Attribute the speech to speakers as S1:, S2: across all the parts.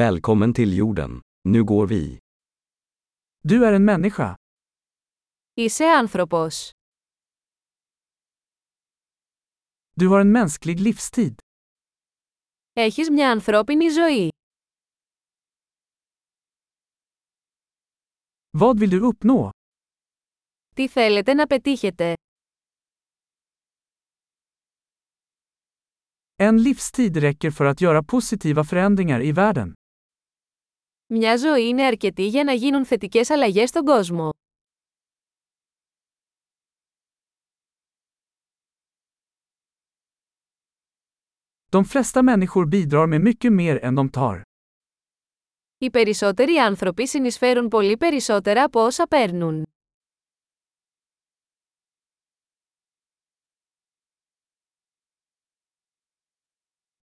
S1: Välkommen till jorden. Nu går vi.
S2: Du är en μänniska.
S3: Είσαι άνθρωπος.
S2: Du har en mänsklig livstid.
S3: Έχεις μια ανθρώπινη ζωή.
S2: Vad vill du uppnå?
S3: Τι θέλετε να πετύχετε.
S2: En livstid räcker för att göra positiva förändringar i världen.
S3: Μια ζωή είναι αρκετή για να γίνουν θετικές αλλαγές στον κόσμο.
S2: De flesta människor bidrar med mycket mer än de tar.
S3: Οι περισσότεροι άνθρωποι συνεισφέρουν πολύ περισσότερα από όσα παίρνουν.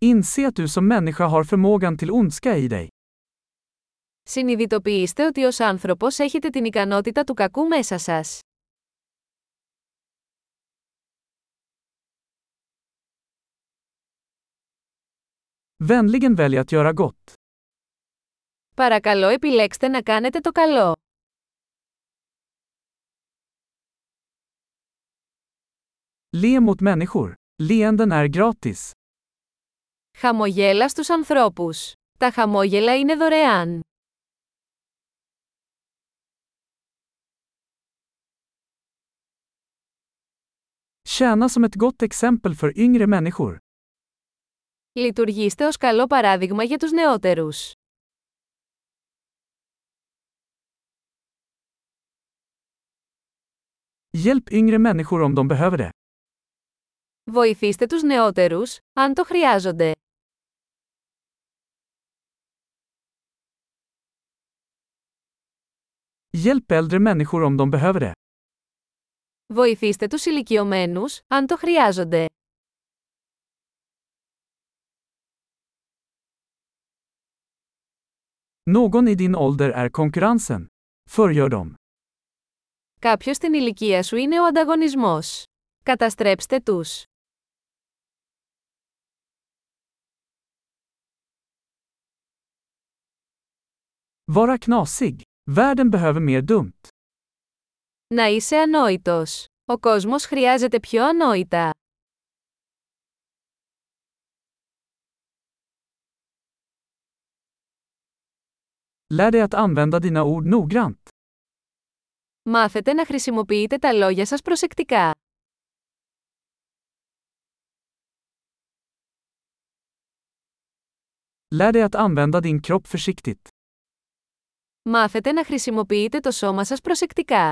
S2: Inse att du som människa har förmågan till ondska i dig.
S3: Συνειδητοποιήστε ότι ως άνθρωπος έχετε την ικανότητα του κακού μέσα σας.
S2: Vänligen välj att göra gott.
S3: Παρακαλώ επιλέξτε να κάνετε το καλό.
S2: Le mot människor. Leenden är gratis.
S3: Χαμογέλα στους ανθρώπους. Τα χαμόγελα είναι δωρεάν.
S2: Tjäna som ett gott exempel för yngre människor.
S3: Λειτουργήστε ως καλό παράδειγμα για τους νεότερους.
S2: Hjälp yngre människor om de behöver det.
S3: Βοηθήστε τους νεότερους, αν το χρειάζονται.
S2: Hjälp äldre människor om de behöver det.
S3: Βοηθήστε τους ηλικιωμένους, αν το χρειάζονται.
S2: Någon i din ålder är konkurrensen. Förgör dem.
S3: Κάποιος στην ηλικία σου είναι ο ανταγωνισμός. Καταστρέψτε τους.
S2: Vara knasig. Världen behöver mer dumt.
S3: Να είσαι ανόητος. Ο κόσμος χρειάζεται πιο ανόητα.
S2: Lär dig att använda dina ord noggrant.
S3: Μάθετε να χρησιμοποιείτε τα λόγια σας προσεκτικά.
S2: Lär dig att använda din kropp försiktigt.
S3: Μάθετε να χρησιμοποιείτε το σώμα σας προσεκτικά.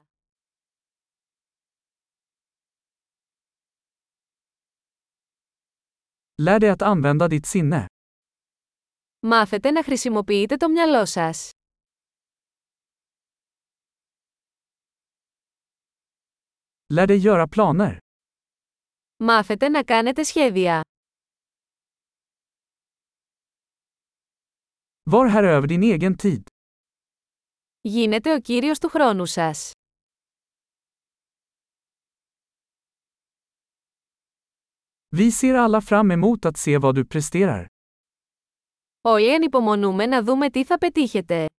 S2: Lär dig att använda ditt sinne.
S3: Μάθετε να χρησιμοποιείτε το μυαλό σας.
S2: Lär dig göra planer.
S3: Μάθετε να κάνετε σχέδια.
S2: Var här över din egen tid.
S3: Γίνετε ο κύριος του χρόνου σας.
S2: Vi ser alla fram emot att se vad du presterar.
S3: Όλοι ανυπομονούμε να δούμε τι θα πετύχετε.